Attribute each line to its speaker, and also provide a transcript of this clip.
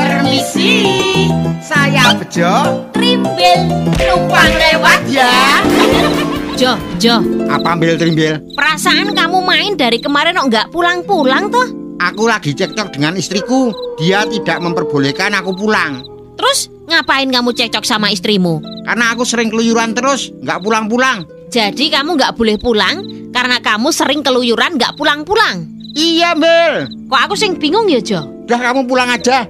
Speaker 1: Permisi, saya Bejo
Speaker 2: Trimbil
Speaker 1: numpang lewat ya.
Speaker 2: Jo, Jo,
Speaker 1: Apa ambil trimbil?
Speaker 2: perasaan kamu main dari kemarin kok nggak pulang-pulang toh?
Speaker 1: Aku lagi cekcok dengan istriku. Dia tidak memperbolehkan aku pulang
Speaker 2: Terus ngapain kamu cekcok sama istrimu?
Speaker 1: karena aku sering keluyuran terus, nggak pulang-pulang.
Speaker 2: Jadi kamu nggak boleh pulang karena kamu sering keluyuran nggak pulang-pulang.
Speaker 1: Iya, Bel.
Speaker 2: Kok aku sing bingung ya Jo?
Speaker 1: Udah kamu pulang aja.